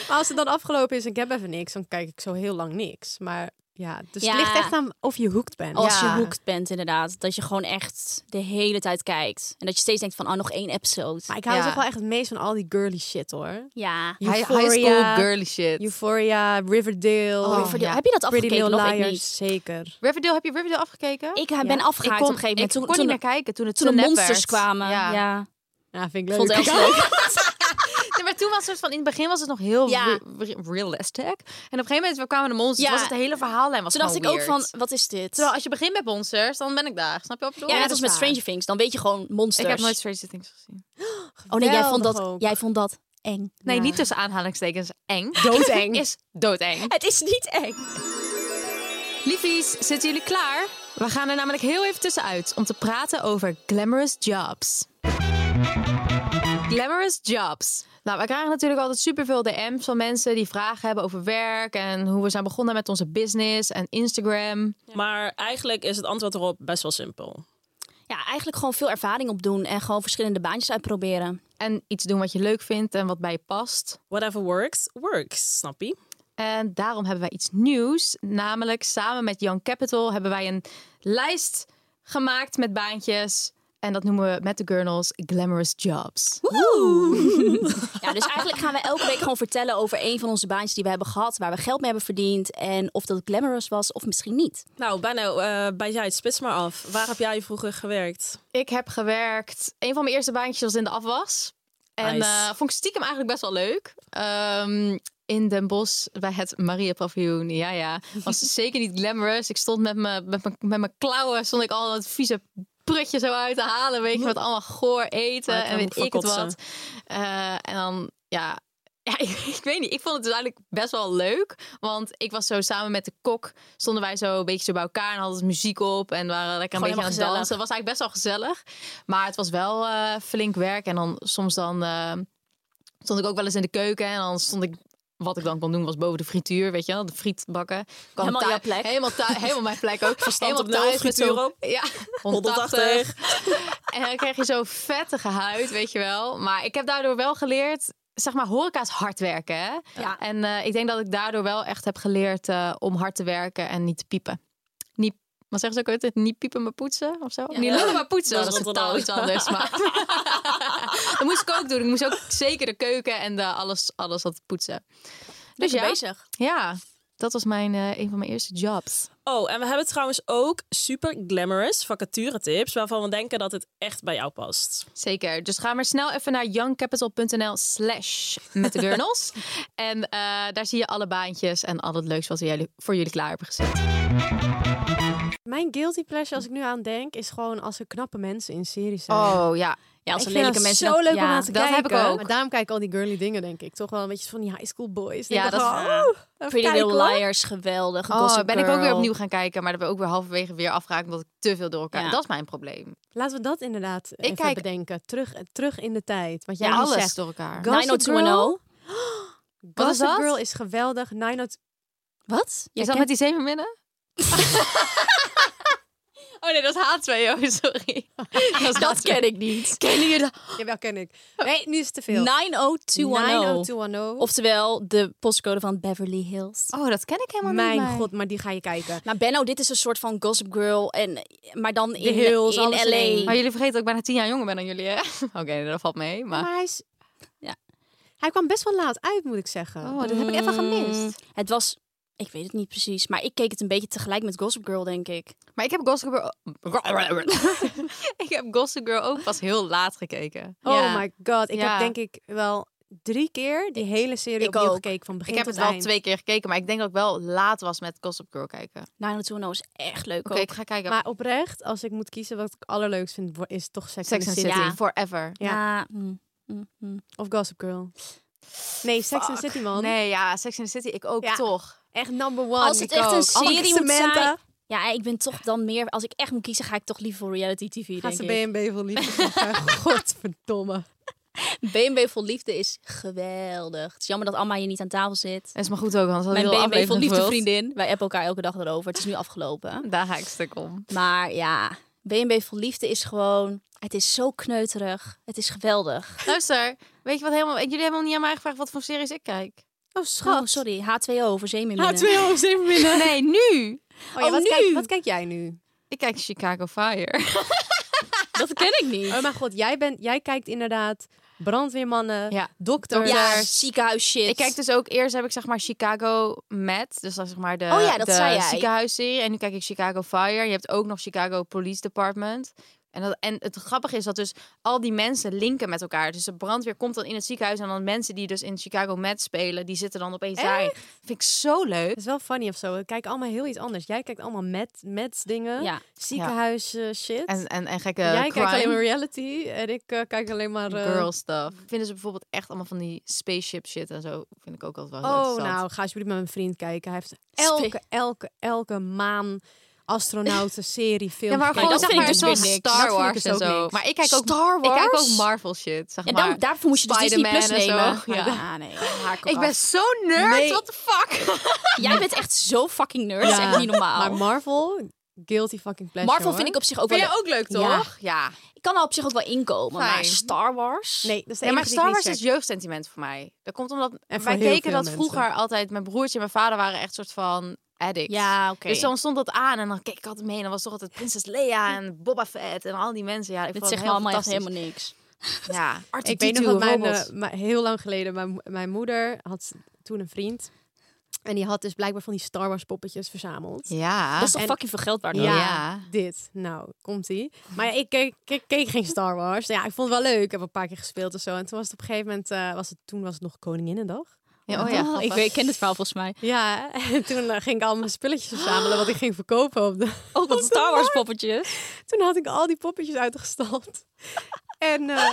[SPEAKER 1] Maar als het dan afgelopen is en ik heb even niks, dan kijk ik zo heel lang niks. Maar ja, dus
[SPEAKER 2] Ja.
[SPEAKER 1] het ligt echt aan of je hoekt bent.
[SPEAKER 2] Als
[SPEAKER 3] Ja.
[SPEAKER 2] je hoekt bent, inderdaad. Dat je gewoon echt de hele tijd kijkt. En dat je steeds denkt van, oh, nog één episode.
[SPEAKER 1] Maar ik hou
[SPEAKER 3] Ja.
[SPEAKER 1] toch wel echt het meest van al die girly shit hoor.
[SPEAKER 2] Ja.
[SPEAKER 3] High,
[SPEAKER 1] Euphoria,
[SPEAKER 3] high school girly shit.
[SPEAKER 1] Euphoria, Riverdale,
[SPEAKER 3] Oh,
[SPEAKER 2] Riverdale.
[SPEAKER 3] ja.
[SPEAKER 2] Heb je dat
[SPEAKER 1] Pretty
[SPEAKER 2] afgekeken
[SPEAKER 1] Little
[SPEAKER 2] nog? Ik
[SPEAKER 1] Liars,
[SPEAKER 2] niet.
[SPEAKER 1] zeker.
[SPEAKER 3] Riverdale, heb je Riverdale afgekeken?
[SPEAKER 2] Ik eh, ben afgehaakt
[SPEAKER 3] ik kon,
[SPEAKER 2] op een gegeven moment.
[SPEAKER 3] Ik
[SPEAKER 2] Toen,
[SPEAKER 3] kon
[SPEAKER 2] toen,
[SPEAKER 3] niet meer kijken toen het
[SPEAKER 2] toen de
[SPEAKER 3] zo nep
[SPEAKER 2] monsters
[SPEAKER 3] werd.
[SPEAKER 2] kwamen. Ja.
[SPEAKER 3] Ja.
[SPEAKER 1] Ja, vind ik
[SPEAKER 2] Ik
[SPEAKER 1] leuk.
[SPEAKER 2] vond het echt leuk.
[SPEAKER 3] Nee, maar toen was het soort van in het begin was het nog heel
[SPEAKER 2] Ja.
[SPEAKER 3] re- re- realistic. En op een gegeven moment kwamen de monsters.
[SPEAKER 2] Ja.
[SPEAKER 3] Was het hele verhaallijn was
[SPEAKER 2] Toen dacht ik
[SPEAKER 3] gewoon
[SPEAKER 2] ook van,
[SPEAKER 3] Oh, weird.
[SPEAKER 2] wat is dit?
[SPEAKER 3] Terwijl als je begint met monsters, dan ben ik daar. Snap je wat ik bedoel?
[SPEAKER 2] ja, net als met
[SPEAKER 3] dat is waar.
[SPEAKER 2] Stranger Things. Dan weet je gewoon monsters.
[SPEAKER 3] Ik heb nooit Stranger Things gezien.
[SPEAKER 2] Oh nee, jij vond
[SPEAKER 1] Geweldig
[SPEAKER 2] dat,
[SPEAKER 1] ook.
[SPEAKER 2] jij vond dat eng.
[SPEAKER 3] Nee, niet tussen aanhalingstekens eng.
[SPEAKER 1] Doodeng.
[SPEAKER 3] is doodeng.
[SPEAKER 2] Het is niet eng.
[SPEAKER 3] Liefies, zitten jullie klaar? We gaan er namelijk heel even tussenuit om te praten over glamorous jobs. Glamorous jobs. Nou, wij krijgen natuurlijk altijd superveel DM's van mensen die vragen hebben over werk en hoe we zijn begonnen met onze business en Instagram.
[SPEAKER 8] Maar eigenlijk is het antwoord erop best wel simpel.
[SPEAKER 2] Ja, eigenlijk gewoon veel ervaring opdoen en gewoon verschillende baantjes uitproberen.
[SPEAKER 3] En iets doen wat je leuk vindt en wat bij je past.
[SPEAKER 8] Whatever works, works, snap je?
[SPEAKER 3] En daarom hebben wij iets nieuws. Namelijk samen met Young Capital hebben wij een lijst gemaakt met baantjes. En dat noemen we met de Gurnals Glamorous Jobs.
[SPEAKER 2] Ja, dus eigenlijk gaan we elke week gewoon vertellen over een van onze baantjes die we hebben gehad, waar we geld mee hebben verdiend en of dat glamorous was of misschien niet.
[SPEAKER 8] Nou, bijna eh bij jij, het spits maar af. Waar heb jij vroeger gewerkt?
[SPEAKER 3] Ik heb gewerkt. Een van mijn eerste baantjes was in de afwas. En
[SPEAKER 8] Nice.
[SPEAKER 3] eh, vond ik stiekem eigenlijk best wel leuk. Ehm, in Den Bosch bij het Maria Paviljoen. Ja, ja. Was zeker niet glamorous. Ik stond met mijn met mijn- met mijn klauwen. Stond ik al dat vieze prutje zo uit te halen. Weet je, met allemaal goor
[SPEAKER 8] Maar
[SPEAKER 3] eten.
[SPEAKER 8] ik
[SPEAKER 3] En
[SPEAKER 8] kan
[SPEAKER 3] weet
[SPEAKER 8] me
[SPEAKER 3] ik het
[SPEAKER 8] verkotsen.
[SPEAKER 3] wat. Eh, en dan, ja. Ja, ik, ik weet niet. Ik vond het dus eigenlijk best wel leuk. Want ik was zo samen met de kok. Stonden wij zo een beetje zo bij elkaar. En hadden muziek op. En waren lekker een
[SPEAKER 2] Gewoon
[SPEAKER 3] beetje aan het
[SPEAKER 2] helemaal
[SPEAKER 3] dansen. Het was eigenlijk best wel gezellig. Maar het was wel eh, flink werk. En dan soms dan eh, stond ik ook wel eens in de keuken. En dan stond ik... Wat ik dan kon doen was boven de frituur, weet je wel, de friet bakken. Kwam
[SPEAKER 2] Helemaal
[SPEAKER 3] thui-
[SPEAKER 2] jouw plek.
[SPEAKER 3] Helemaal, thui- helemaal mijn plek ook.
[SPEAKER 8] Verstand op
[SPEAKER 3] helemaal
[SPEAKER 8] nul,
[SPEAKER 3] thuis met
[SPEAKER 8] frituur
[SPEAKER 3] zo'n-
[SPEAKER 8] op.
[SPEAKER 3] Ja,
[SPEAKER 8] 180.
[SPEAKER 3] en dan kreeg je zo'n vettige huid, weet je wel. Maar ik heb daardoor wel geleerd, zeg maar, horeca is hard werken. Hè?
[SPEAKER 2] Ja.
[SPEAKER 3] En eh, ik denk dat ik daardoor wel echt heb geleerd eh, om hard te werken en niet te piepen. Niet, wat zeggen ze ook altijd? Niet piepen, maar poetsen of zo? Niet lullen, maar poetsen.
[SPEAKER 8] Dat
[SPEAKER 3] Dat
[SPEAKER 8] is
[SPEAKER 3] is, totaal
[SPEAKER 8] Rotterdam.
[SPEAKER 3] iets anders. Maar... dat moest ik ook doen. Ik moest ook zeker de keuken en de alles, alles wat poetsen. Dus ja,
[SPEAKER 2] bezig.
[SPEAKER 3] ja, dat was mijn, eh, een van mijn eerste jobs.
[SPEAKER 8] Oh, en we hebben trouwens ook super glamorous vacature tips waarvan we denken dat het echt bij jou past.
[SPEAKER 3] Zeker. Dus ga maar snel even naar youngcapital.nl slash met de gurnels. en eh, daar zie je alle baantjes en al het leuks wat we jullie, voor jullie klaar hebben gezet.
[SPEAKER 1] Mijn guilty pleasure, als ik nu aan denk, is gewoon als er knappe mensen in series zijn.
[SPEAKER 3] Oh ja.
[SPEAKER 2] Ja, als
[SPEAKER 1] Ik
[SPEAKER 2] een
[SPEAKER 1] vind
[SPEAKER 2] lelijke
[SPEAKER 1] dat
[SPEAKER 2] mensen.
[SPEAKER 1] zo
[SPEAKER 2] dan-
[SPEAKER 1] leuk
[SPEAKER 2] ja.
[SPEAKER 1] om naar te
[SPEAKER 3] dat
[SPEAKER 1] kijken. Oh,
[SPEAKER 3] heb ik ook.
[SPEAKER 1] Maar daarom kijk ik al die girly dingen, denk ik. Toch wel een beetje van die high school boys.
[SPEAKER 3] Ja,
[SPEAKER 1] Denk ik
[SPEAKER 3] dat is- eh,
[SPEAKER 1] gewoon,
[SPEAKER 8] ja.
[SPEAKER 1] oeh, even
[SPEAKER 2] Pretty
[SPEAKER 1] kijken,
[SPEAKER 2] Little
[SPEAKER 1] hoor.
[SPEAKER 2] Liars, geweldig.
[SPEAKER 3] Oh,
[SPEAKER 2] Gossip
[SPEAKER 3] ben ik ook weer
[SPEAKER 2] Girl.
[SPEAKER 3] opnieuw gaan kijken, maar dat ben ik ook weer halverwege weer afgeraakt omdat ik te veel door elkaar.
[SPEAKER 2] Ja.
[SPEAKER 3] Dat is mijn probleem.
[SPEAKER 1] Laten we dat inderdaad even
[SPEAKER 3] kijk-
[SPEAKER 1] bedenken. Terug, terug in de tijd. Want jij
[SPEAKER 3] Ja,
[SPEAKER 1] nu
[SPEAKER 3] alles oh
[SPEAKER 1] zegt,
[SPEAKER 3] door elkaar.
[SPEAKER 1] Gossip
[SPEAKER 2] 90210.
[SPEAKER 3] Wat is
[SPEAKER 1] Gossip
[SPEAKER 3] dat?
[SPEAKER 1] Girl is geweldig. Nine oh
[SPEAKER 2] Wat?
[SPEAKER 3] Je zat met die zeemerminnen? oh nee, dat is H2O, sorry. Dat, is
[SPEAKER 2] Dat
[SPEAKER 3] H2O.
[SPEAKER 2] ken ik niet. Kennen jullie dat?
[SPEAKER 1] Jawel, ken ik. Nee, nu is het te veel.
[SPEAKER 2] 90210.
[SPEAKER 1] 90210.
[SPEAKER 2] Oftewel de postcode van Beverly Hills.
[SPEAKER 3] Oh, dat ken ik helemaal niet.
[SPEAKER 1] Mijn
[SPEAKER 3] nee.
[SPEAKER 1] god, maar die ga je kijken.
[SPEAKER 2] Maar Benno, dit is een soort van Gossip Girl. En, maar dan in,
[SPEAKER 1] Hills,
[SPEAKER 2] in
[SPEAKER 1] alles in
[SPEAKER 2] L.A.
[SPEAKER 3] Maar jullie vergeten dat ik bijna tien jaar jonger ben dan jullie, hè? Oké, dat valt mee, maar...
[SPEAKER 1] Maar hij is...
[SPEAKER 2] Ja.
[SPEAKER 1] Hij kwam best wel laat uit, moet ik zeggen.
[SPEAKER 3] Oh, dat heb ik even gemist.
[SPEAKER 2] Het was... Ik weet het niet precies, maar ik keek het een beetje tegelijk met Gossip Girl, denk ik.
[SPEAKER 3] Maar ik heb Gossip Girl... ik heb Gossip Girl ook pas heel laat gekeken.
[SPEAKER 1] Oh
[SPEAKER 3] Ja.
[SPEAKER 1] my god. Ik
[SPEAKER 3] Ja.
[SPEAKER 1] heb denk ik wel drie keer die hele serie
[SPEAKER 2] ik
[SPEAKER 1] opnieuw
[SPEAKER 2] ook.
[SPEAKER 1] gekeken van begin
[SPEAKER 3] Ik heb
[SPEAKER 1] tot
[SPEAKER 3] het wel
[SPEAKER 1] eind.
[SPEAKER 3] twee keer gekeken, maar ik denk dat ik wel laat was met Gossip Girl kijken. Oké,
[SPEAKER 2] 90210 is echt leuk ook.
[SPEAKER 3] ik ga kijken.
[SPEAKER 1] Maar oprecht, als ik moet kiezen wat ik allerleukst vind, wo- is toch Sex, and
[SPEAKER 3] Sex and
[SPEAKER 1] the
[SPEAKER 3] City,
[SPEAKER 1] City.
[SPEAKER 2] Ja.
[SPEAKER 3] forever.
[SPEAKER 1] Ja.
[SPEAKER 2] Maar, mm, mm, mm.
[SPEAKER 1] Of Gossip Girl. Nee, Sex and the City, man.
[SPEAKER 3] Nee, ja, Sex and the City, ik ook
[SPEAKER 1] Ja.
[SPEAKER 3] toch.
[SPEAKER 1] Echt number one.
[SPEAKER 2] Als het
[SPEAKER 1] Ik
[SPEAKER 2] echt een
[SPEAKER 1] ook. Alle
[SPEAKER 2] serie moet
[SPEAKER 1] Samantha.
[SPEAKER 2] zijn- Ja, ik ben toch dan meer... Als ik echt moet kiezen, ga ik toch liever voor reality tv,
[SPEAKER 1] Gaat
[SPEAKER 2] denk
[SPEAKER 1] ze
[SPEAKER 2] ik.
[SPEAKER 1] BNB voor liefde zeggen. Godverdomme.
[SPEAKER 2] BNB Vol Liefde is geweldig. Het is jammer dat Amma hier niet aan tafel zit.
[SPEAKER 3] Dat is maar goed ook, want we
[SPEAKER 2] Mijn
[SPEAKER 3] hadden heel
[SPEAKER 2] BNB Vol
[SPEAKER 3] aflevering
[SPEAKER 2] Liefde
[SPEAKER 3] gevuld.
[SPEAKER 2] vriendin. Wij appen elkaar elke dag erover. Het is nu afgelopen.
[SPEAKER 3] Daar ga ik stuk om.
[SPEAKER 2] Maar ja, BNB Vol Liefde is gewoon... Het is zo kneuterig. Het is geweldig.
[SPEAKER 3] Luister, weet je wat helemaal... Jullie hebben niet aan mij gevraagd wat voor series ik kijk.
[SPEAKER 1] Oh,
[SPEAKER 2] Oh, sorry. H2O voor zeemerminnen.
[SPEAKER 1] H2O, zeven binnen.
[SPEAKER 3] Nee, nu!
[SPEAKER 1] Oh, ja,
[SPEAKER 2] Oh,
[SPEAKER 1] wat,
[SPEAKER 2] nu?
[SPEAKER 1] Kijk, wat kijk jij nu?
[SPEAKER 3] Ik kijk Chicago Fire.
[SPEAKER 2] Dat ken ik niet.
[SPEAKER 1] Oh mijn god, jij, bent, jij kijkt inderdaad brandweermannen,
[SPEAKER 3] Ja.
[SPEAKER 1] dokters.
[SPEAKER 2] Ja, ziekenhuis shit.
[SPEAKER 3] Oh, Ik kijk dus ook eerst heb ik zeg maar Chicago Med, dus dat is zeg maar de,
[SPEAKER 2] Oh ja, dat
[SPEAKER 3] de
[SPEAKER 2] zei jij.
[SPEAKER 3] ziekenhuisserie. En nu kijk ik Chicago Fire. Je hebt ook nog Chicago Police Department. En, dat, en het grappige is dat dus al die mensen linken met elkaar. Dus de brandweer komt dan in het ziekenhuis en dan mensen die dus in Chicago Med spelen, die zitten dan opeens daar. Vind ik zo leuk.
[SPEAKER 1] Dat is wel funny of zo. We kijken allemaal heel iets anders. Jij kijkt allemaal met, met dingen,
[SPEAKER 2] Ja.
[SPEAKER 1] ziekenhuis eh, shit.
[SPEAKER 3] En, en, en gekke
[SPEAKER 1] jij kijkt alleen maar
[SPEAKER 3] eh, crime
[SPEAKER 1] reality en ik eh, kijk alleen maar... eh,
[SPEAKER 3] girl stuff. Vinden ze bijvoorbeeld echt allemaal van die spaceship shit en zo. Vind ik ook altijd wel
[SPEAKER 1] Oh,
[SPEAKER 3] interessant.
[SPEAKER 1] nou, ga alsjeblieft met mijn vriend kijken. Hij heeft elke, elke, elke maan astronautenserie, film.
[SPEAKER 3] Ja, maar
[SPEAKER 1] gekeken.
[SPEAKER 2] dat
[SPEAKER 3] gewoon zeg
[SPEAKER 2] vind
[SPEAKER 3] maar
[SPEAKER 2] ik dus
[SPEAKER 3] zo'n
[SPEAKER 2] weer niks.
[SPEAKER 3] Star
[SPEAKER 1] Dat vind ik
[SPEAKER 3] Wars
[SPEAKER 1] dus
[SPEAKER 3] en
[SPEAKER 1] ook
[SPEAKER 3] zo.
[SPEAKER 1] niks.
[SPEAKER 3] Maar ik kijk ook,
[SPEAKER 2] Star
[SPEAKER 3] ik kijk ook
[SPEAKER 2] Wars?
[SPEAKER 3] Marvel shit, zeg
[SPEAKER 2] En
[SPEAKER 3] maar.
[SPEAKER 2] dan, daarvoor moest je dus Disney
[SPEAKER 3] Spider-Man
[SPEAKER 2] Plus
[SPEAKER 3] en zo.
[SPEAKER 2] nemen.
[SPEAKER 3] Ja.
[SPEAKER 2] Ja, nee. haak
[SPEAKER 3] ik
[SPEAKER 2] af.
[SPEAKER 3] ben zo nerd,
[SPEAKER 1] Nee.
[SPEAKER 3] what the fuck?
[SPEAKER 2] Jij bent echt zo fucking nerd. Dat is
[SPEAKER 1] Ja.
[SPEAKER 2] echt niet normaal.
[SPEAKER 1] Maar Marvel, guilty fucking pleasure.
[SPEAKER 2] Marvel vind ik op zich ook wel...
[SPEAKER 3] Vind jij ook leuk, toch?
[SPEAKER 2] Ja.
[SPEAKER 3] ja.
[SPEAKER 2] Ik kan er op zich ook wel inkomen. Maar
[SPEAKER 3] Fijn.
[SPEAKER 2] Star Wars?
[SPEAKER 1] Nee, dat is de
[SPEAKER 3] Ja, maar
[SPEAKER 1] enige die ik
[SPEAKER 3] Star
[SPEAKER 1] niet
[SPEAKER 3] Wars
[SPEAKER 1] check.
[SPEAKER 3] is jeugdsentiment voor mij. Dat komt omdat
[SPEAKER 1] En voor
[SPEAKER 3] wij
[SPEAKER 1] heel
[SPEAKER 3] keken
[SPEAKER 1] veel
[SPEAKER 3] dat
[SPEAKER 1] mensen.
[SPEAKER 3] vroeger altijd. Mijn broertje en mijn vader waren echt soort van addicts.
[SPEAKER 2] Ja, oké.
[SPEAKER 3] Dus dan stond dat aan en dan keek ik altijd mee. En dan was toch altijd Prinses Leia en Boba Fett en al die mensen. Ja, ik
[SPEAKER 2] Dit
[SPEAKER 3] vond het
[SPEAKER 2] zegt me
[SPEAKER 3] heel
[SPEAKER 2] allemaal echt
[SPEAKER 3] fantastisch.
[SPEAKER 2] helemaal niks.
[SPEAKER 3] Ja,
[SPEAKER 1] Ik weet nog dat mijn,
[SPEAKER 3] robot.
[SPEAKER 1] eh, mijn- heel lang geleden, mijn, mo- mijn moeder had toen een vriend. En die had dus blijkbaar van die Star Wars poppetjes verzameld.
[SPEAKER 3] Ja.
[SPEAKER 2] Dat is toch
[SPEAKER 1] en-
[SPEAKER 2] fucking veel geld waard?
[SPEAKER 1] Ja.
[SPEAKER 2] hoor.
[SPEAKER 1] Dit, nou, komt-ie. Maar ja, ik keek, keek, keek geen Star Wars. Ja, ik vond het wel leuk. Ik heb een paar keer gespeeld en zo. En toen was het op een gegeven moment, eh, was het, toen was het nog Koninginnedag.
[SPEAKER 3] Ja, oh ja,
[SPEAKER 2] Oh, ik,
[SPEAKER 3] grappig.
[SPEAKER 2] weet, ik ken het verhaal volgens mij.
[SPEAKER 1] Ja, en toen eh, ging ik al mijn spulletjes verzamelen wat ik ging verkopen op de
[SPEAKER 2] Ook Oh, wat Star Wars poppetjes.
[SPEAKER 1] Toen had ik al die poppetjes uitgestald. en, eh,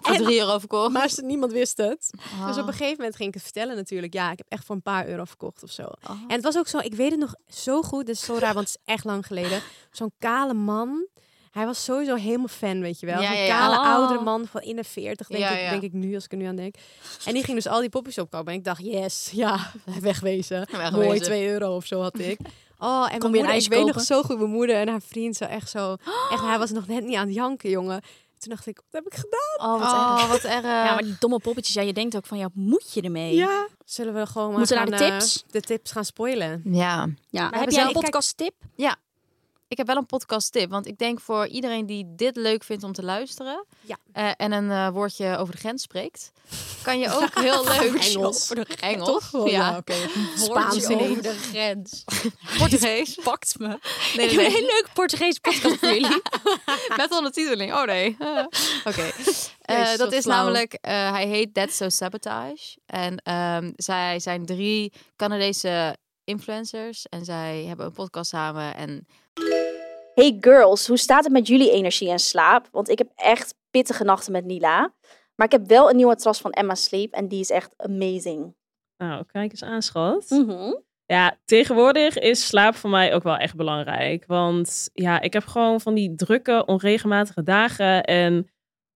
[SPEAKER 3] Voor drie euro verkocht.
[SPEAKER 1] maar ze- niemand wist het. Dus op
[SPEAKER 3] Ah.
[SPEAKER 1] een gegeven moment ging ik het vertellen natuurlijk. Ja, ik heb echt voor een paar euro verkocht of zo.
[SPEAKER 3] Ah.
[SPEAKER 1] En het was ook zo, ik weet het nog zo goed. Dit is zo raar, want het is echt lang geleden. Zo'n kale man. Hij was sowieso helemaal fan, weet je wel.
[SPEAKER 3] Ja,
[SPEAKER 1] Zo'n
[SPEAKER 3] ja, ja.
[SPEAKER 1] kale
[SPEAKER 2] Oh.
[SPEAKER 1] oudere man van in de 40, denk,
[SPEAKER 3] Ja,
[SPEAKER 1] ik,
[SPEAKER 3] ja.
[SPEAKER 1] denk ik nu, als ik er nu aan denk. En die ging dus al die poppies opkopen. En ik dacht, yes, ja, wegwezen.
[SPEAKER 3] Wegwezen.
[SPEAKER 1] Mooi, 2 euro of zo had ik. Oh,
[SPEAKER 2] Kon je
[SPEAKER 1] en mijn
[SPEAKER 2] een
[SPEAKER 1] moeder, ik
[SPEAKER 2] ijsje
[SPEAKER 1] weet nog
[SPEAKER 2] kopen?
[SPEAKER 1] zo goed, mijn moeder en haar vriend zo echt zo. Echt, hij was nog net niet aan het janken, jongen. Toen dacht ik, wat heb ik gedaan?
[SPEAKER 3] Oh, wat erg.
[SPEAKER 2] wat erg. Ja, maar die domme poppetjes. Ja, je denkt ook van, ja, moet je ermee?
[SPEAKER 1] Ja. Zullen we gewoon maar
[SPEAKER 2] Moeten we
[SPEAKER 1] gaan,
[SPEAKER 2] naar de
[SPEAKER 1] eh,
[SPEAKER 2] tips?
[SPEAKER 1] de tips gaan spoilen?
[SPEAKER 3] Ja.
[SPEAKER 2] Ja.
[SPEAKER 1] we
[SPEAKER 2] heb
[SPEAKER 1] hebben
[SPEAKER 2] jij een
[SPEAKER 1] zelf-
[SPEAKER 2] podcast tip?
[SPEAKER 3] Ik heb wel een podcast tip, want ik denk voor iedereen die dit leuk vindt om te luisteren
[SPEAKER 1] Ja.
[SPEAKER 3] eh, en een eh, woordje over de grens spreekt, kan je ook heel leuk
[SPEAKER 1] Engels.
[SPEAKER 3] Engels,
[SPEAKER 1] Toch? Oh,
[SPEAKER 3] ja.
[SPEAKER 1] ja, oké.
[SPEAKER 2] Spaans
[SPEAKER 1] Woordje
[SPEAKER 2] ineens.
[SPEAKER 1] over
[SPEAKER 2] de grens.
[SPEAKER 3] Portugees.
[SPEAKER 2] Pakt me.
[SPEAKER 3] Nee,
[SPEAKER 2] Ik
[SPEAKER 3] nee,
[SPEAKER 2] heb een
[SPEAKER 3] nee.
[SPEAKER 2] heel leuk Portugees podcast voor jullie.
[SPEAKER 3] Met ondertiteling. Oh nee. Eh, Oké. Eh,
[SPEAKER 1] Jezus,
[SPEAKER 3] dat
[SPEAKER 1] wat
[SPEAKER 3] is
[SPEAKER 1] flauw.
[SPEAKER 3] namelijk, eh, hij heet That's So Sabotage. En ehm, zij zijn drie Canadese influencers en zij hebben een podcast samen. En
[SPEAKER 9] Hey girls, hoe staat het met jullie energie en slaap? Want ik heb echt pittige nachten met Nila. Maar ik heb wel een nieuwe matras van Emma Sleep en die is echt amazing.
[SPEAKER 4] Nou, kijk eens aan, schat.
[SPEAKER 1] Mm.
[SPEAKER 4] Ja, tegenwoordig is slaap voor mij ook wel echt belangrijk. Want ja, ik heb gewoon van die drukke, onregelmatige dagen. En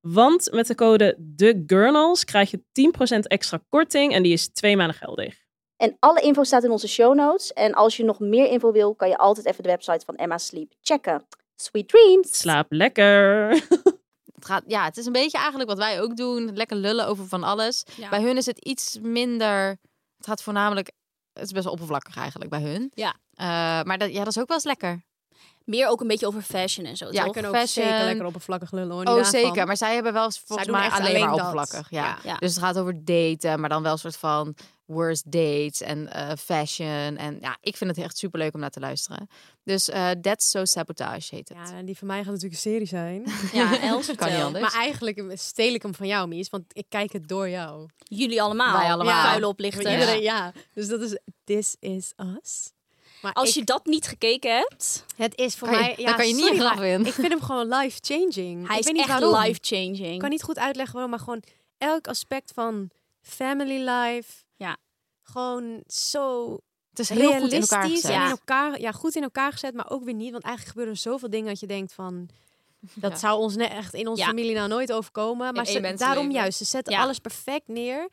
[SPEAKER 4] Want met de code TheGurnals krijg je 10% extra korting en die is twee maanden geldig.
[SPEAKER 9] En alle info staat in onze show notes. En als je nog meer info wil, kan je altijd even de website van Emma Sleep checken. Sweet dreams!
[SPEAKER 4] Slaap lekker.
[SPEAKER 3] het gaat, ja, het is een beetje eigenlijk wat wij ook doen. Lekker lullen over van alles.
[SPEAKER 2] Ja.
[SPEAKER 3] Bij hun is het iets minder. Het gaat voornamelijk. Het is best wel oppervlakkig eigenlijk bij hun.
[SPEAKER 2] Ja.
[SPEAKER 3] Eh, maar dat, ja, dat is ook wel eens lekker.
[SPEAKER 2] Meer ook een beetje over fashion en zo.
[SPEAKER 3] Ja,
[SPEAKER 2] toch?
[SPEAKER 1] We kunnen ook
[SPEAKER 3] fashion.
[SPEAKER 1] zeker lekker oppervlakkig lullen. Hoor, niet
[SPEAKER 3] Oh,
[SPEAKER 1] daarvan.
[SPEAKER 3] zeker. Maar zij hebben wel eens volgens
[SPEAKER 1] doen
[SPEAKER 3] mij
[SPEAKER 1] echt
[SPEAKER 3] alleen,
[SPEAKER 1] alleen
[SPEAKER 3] maar
[SPEAKER 1] dat.
[SPEAKER 3] oppervlakkig. Ja.
[SPEAKER 2] Ja.
[SPEAKER 3] Dus het gaat over daten, maar dan wel een soort van worst dates en eh, fashion. En ja, ik vind het echt superleuk om naar te luisteren. Dus eh That's So Sabotage heet het.
[SPEAKER 1] Ja, en die van mij gaat natuurlijk een serie zijn.
[SPEAKER 2] Ja, Els,
[SPEAKER 3] kan niet
[SPEAKER 2] vertel.
[SPEAKER 3] anders.
[SPEAKER 1] Maar eigenlijk steel ik hem van jou, Mies. Want ik kijk het door jou.
[SPEAKER 2] Jullie allemaal.
[SPEAKER 3] Wij allemaal.
[SPEAKER 2] Vuile oplichters.
[SPEAKER 1] Voor Iedereen, ja. Dus dat is This Is Us. Maar
[SPEAKER 2] Als
[SPEAKER 1] ik-
[SPEAKER 2] je dat niet gekeken hebt,
[SPEAKER 1] het is voor
[SPEAKER 3] Kan je-
[SPEAKER 1] mij...
[SPEAKER 3] daar
[SPEAKER 1] ja,
[SPEAKER 3] kan je niet
[SPEAKER 1] sorry,
[SPEAKER 3] graag
[SPEAKER 1] maar
[SPEAKER 3] in.
[SPEAKER 1] Ik vind hem gewoon life-changing.
[SPEAKER 2] hij
[SPEAKER 1] ik weet
[SPEAKER 2] is
[SPEAKER 1] niet
[SPEAKER 2] echt
[SPEAKER 1] waarom.
[SPEAKER 2] life-changing.
[SPEAKER 1] Ik kan niet goed uitleggen waarom, maar gewoon elk aspect van family life.
[SPEAKER 2] Ja.
[SPEAKER 1] Gewoon zo
[SPEAKER 3] het is heel goed in
[SPEAKER 1] realistisch
[SPEAKER 3] elkaar gezet.
[SPEAKER 1] en
[SPEAKER 2] Ja.
[SPEAKER 1] in elkaar, ja, goed in elkaar gezet, maar ook weer niet. Want eigenlijk gebeuren er zoveel dingen dat je denkt van... Dat
[SPEAKER 3] Ja.
[SPEAKER 1] zou ons ne- echt in onze
[SPEAKER 2] Ja.
[SPEAKER 1] familie nou nooit overkomen. Maar
[SPEAKER 3] één
[SPEAKER 1] ze,
[SPEAKER 3] mensenleven.
[SPEAKER 1] daarom juist, ze zetten
[SPEAKER 2] Ja.
[SPEAKER 1] alles perfect neer.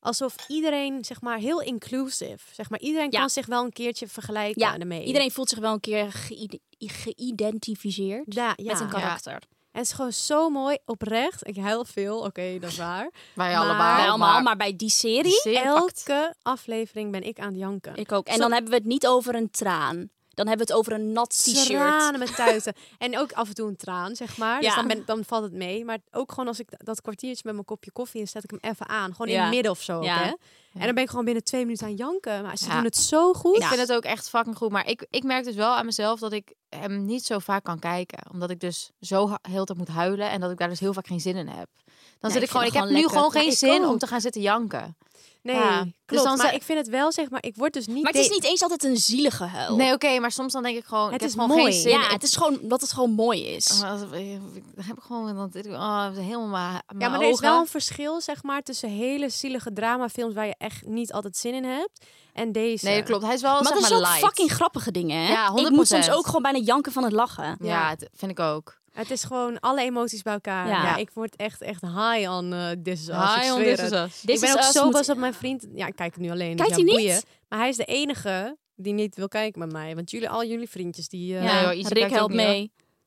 [SPEAKER 1] Alsof iedereen, zeg maar, heel inclusive. Zeg maar, iedereen
[SPEAKER 2] Ja.
[SPEAKER 1] kan zich wel een keertje vergelijken
[SPEAKER 2] Ja,
[SPEAKER 1] daarmee.
[SPEAKER 2] Iedereen voelt zich wel een keer geïde- geïdentificeerd
[SPEAKER 1] Ja, ja.
[SPEAKER 2] met een karakter.
[SPEAKER 1] En het is gewoon zo mooi, oprecht. Ik huil veel, oké, dat is waar.
[SPEAKER 3] Wij
[SPEAKER 1] Maar-
[SPEAKER 3] allemaal.
[SPEAKER 2] Bij allemaal,
[SPEAKER 3] maar-
[SPEAKER 2] maar bij die serie.
[SPEAKER 3] Zeer pakt.
[SPEAKER 1] Elke aflevering ben ik aan het janken.
[SPEAKER 2] Ik ook. En
[SPEAKER 1] Zo-
[SPEAKER 2] dan hebben we het niet over een traan. Dan hebben we het over een nat t-shirt.
[SPEAKER 1] Tranen met tuiten. en ook af en toe een traan, zeg maar. Dus
[SPEAKER 2] Ja.
[SPEAKER 1] dan, ben, dan valt het mee. Maar ook gewoon als ik da- dat kwartiertje met mijn kopje koffie in, zet ik hem even aan. Gewoon in
[SPEAKER 3] Ja.
[SPEAKER 1] het midden of zo. ook,
[SPEAKER 3] Ja.
[SPEAKER 1] Hè?
[SPEAKER 3] Ja.
[SPEAKER 1] En dan ben ik gewoon binnen twee minuten aan janken. Maar ze
[SPEAKER 3] Ja.
[SPEAKER 1] doen het zo goed.
[SPEAKER 3] Ik vind het ook echt fucking goed. Maar ik, ik merk dus wel aan mezelf dat ik hem niet zo vaak kan kijken. Omdat ik dus zo ha- heel de tijd moet huilen. En dat ik daar dus heel vaak geen zin in heb. Dan
[SPEAKER 1] Nee,
[SPEAKER 3] zit
[SPEAKER 1] ik
[SPEAKER 3] ik gewoon...
[SPEAKER 1] vind het
[SPEAKER 3] Ik heb
[SPEAKER 1] gewoon
[SPEAKER 3] nu
[SPEAKER 1] lekker.
[SPEAKER 3] gewoon
[SPEAKER 1] Maar
[SPEAKER 3] geen
[SPEAKER 1] ik
[SPEAKER 3] zin om
[SPEAKER 1] ook.
[SPEAKER 3] te gaan zitten janken.
[SPEAKER 1] Nee,
[SPEAKER 3] Ja.
[SPEAKER 1] klopt.
[SPEAKER 3] Dus dan
[SPEAKER 1] maar
[SPEAKER 3] ze-
[SPEAKER 1] ik vind het wel, zeg maar, ik word dus niet...
[SPEAKER 2] Maar het is
[SPEAKER 1] de-
[SPEAKER 2] niet eens altijd een zielige
[SPEAKER 1] Oh.
[SPEAKER 2] huil.
[SPEAKER 3] Nee, oké. maar soms dan denk ik gewoon...
[SPEAKER 2] Het
[SPEAKER 3] ik heb
[SPEAKER 2] is
[SPEAKER 3] gewoon
[SPEAKER 2] mooi.
[SPEAKER 3] geen zin. Uh-huh.
[SPEAKER 2] Ja, het is gewoon dat het gewoon mooi is.
[SPEAKER 3] Dan heb ik gewoon... Dan, oh, helemaal mijn, mijn
[SPEAKER 1] Ja, maar er is
[SPEAKER 3] ogen.
[SPEAKER 1] wel een verschil, zeg maar, tussen hele zielige dramafilms waar je echt niet altijd zin in hebt en deze.
[SPEAKER 3] Nee, klopt. Hij is wel,
[SPEAKER 2] Maar
[SPEAKER 3] zeg
[SPEAKER 2] dat is
[SPEAKER 3] maar,
[SPEAKER 2] ook
[SPEAKER 3] light.
[SPEAKER 2] fucking grappige dingen, hè?
[SPEAKER 3] Ja,
[SPEAKER 2] Ik moet
[SPEAKER 3] 100%.
[SPEAKER 2] soms ook gewoon bijna janken van het lachen.
[SPEAKER 3] Ja, dat vind ik ook.
[SPEAKER 1] Het is gewoon alle emoties bij elkaar.
[SPEAKER 2] Ja.
[SPEAKER 1] Ja. ik word echt, echt high on eh This Is Us.
[SPEAKER 3] High
[SPEAKER 1] ik
[SPEAKER 3] on
[SPEAKER 1] zweer
[SPEAKER 3] This
[SPEAKER 1] het.
[SPEAKER 3] Is Us.
[SPEAKER 1] ik
[SPEAKER 3] This
[SPEAKER 1] ben
[SPEAKER 3] Is
[SPEAKER 1] ook
[SPEAKER 3] Us
[SPEAKER 1] zo
[SPEAKER 3] moet-
[SPEAKER 1] boos dat mijn vriend... Ja, ik kijk het nu alleen. dus
[SPEAKER 3] Kijkt
[SPEAKER 1] ja,
[SPEAKER 3] hij niet?
[SPEAKER 1] boeien. Maar hij is de enige die niet wil kijken met mij. Want jullie, al jullie vriendjes, die... eh,
[SPEAKER 3] Nee, hoor, Izzy kijkt ook niet, hoor.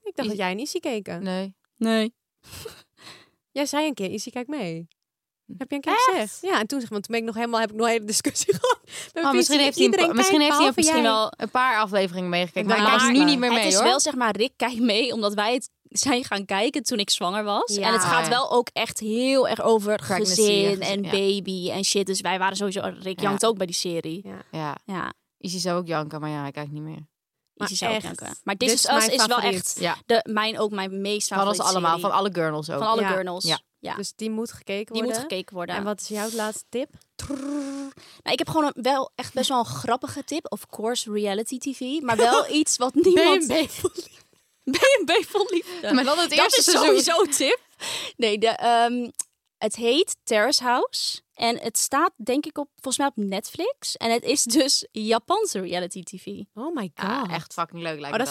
[SPEAKER 1] Ik dacht dat jij en Izzy keken.
[SPEAKER 3] Nee.
[SPEAKER 2] Nee.
[SPEAKER 1] jij zei een keer, Izzy, kijk mee. Heb je een keer gezegd? Ja, en toen zeg maar, toen ben ik nog helemaal, heb ik nog een hele discussie gehad. met
[SPEAKER 3] Oh,
[SPEAKER 1] Piet.
[SPEAKER 3] misschien heeft hij, een-
[SPEAKER 1] Iedereen
[SPEAKER 3] misschien
[SPEAKER 1] kijkt,
[SPEAKER 3] heeft hij
[SPEAKER 1] behalve
[SPEAKER 3] misschien
[SPEAKER 1] jij.
[SPEAKER 3] wel een paar afleveringen meegekeken. Maar
[SPEAKER 2] Maar
[SPEAKER 3] hij kijkt nu niet meer mee,
[SPEAKER 2] Het is
[SPEAKER 3] hoor.
[SPEAKER 2] wel zeg maar, Rick kijkt mee, omdat wij het zijn gaan kijken toen ik zwanger was.
[SPEAKER 3] Ja.
[SPEAKER 2] En het gaat
[SPEAKER 3] Ja.
[SPEAKER 2] wel ook echt heel erg over
[SPEAKER 3] Pregnancy en
[SPEAKER 2] gezin
[SPEAKER 3] gezin,
[SPEAKER 2] en
[SPEAKER 3] ja.
[SPEAKER 2] baby en shit. Dus wij waren sowieso, Rick
[SPEAKER 3] Ja.
[SPEAKER 2] jankt ook bij die serie.
[SPEAKER 1] Ja.
[SPEAKER 3] Ja.
[SPEAKER 2] ja.
[SPEAKER 3] Izzy zou ook janken, maar ja, hij kijkt niet meer.
[SPEAKER 2] Maar
[SPEAKER 3] Izzy
[SPEAKER 2] echt, Maar This,
[SPEAKER 3] dit
[SPEAKER 2] Is Us is wel echt de, mijn, ook mijn meest
[SPEAKER 3] Van ons
[SPEAKER 2] favoriete
[SPEAKER 3] allemaal,
[SPEAKER 2] serie.
[SPEAKER 3] van alle girls ook.
[SPEAKER 2] Van alle
[SPEAKER 3] Ja.
[SPEAKER 2] girls.
[SPEAKER 3] Ja.
[SPEAKER 1] Dus die moet gekeken
[SPEAKER 2] Die
[SPEAKER 1] worden.
[SPEAKER 2] moet gekeken worden.
[SPEAKER 1] En wat is jouw laatste tip?
[SPEAKER 2] Nou, ik heb gewoon een- wel echt best wel een grappige tip. Of course, reality TV. Maar wel iets wat niemand...
[SPEAKER 3] B&B
[SPEAKER 2] vol liefde. B&B vol liefde.
[SPEAKER 3] Maar dan het eerste
[SPEAKER 2] Dat is
[SPEAKER 3] seizoen.
[SPEAKER 2] sowieso een tip. Nee, de, ehm, het heet Terrace House. En het staat denk ik op, volgens mij op Netflix. En het is dus Japanse reality TV.
[SPEAKER 1] Oh my god.
[SPEAKER 2] Ah.
[SPEAKER 1] Oh,
[SPEAKER 3] Ja, echt fucking leuk
[SPEAKER 2] Oh,
[SPEAKER 3] lijkt me
[SPEAKER 2] Het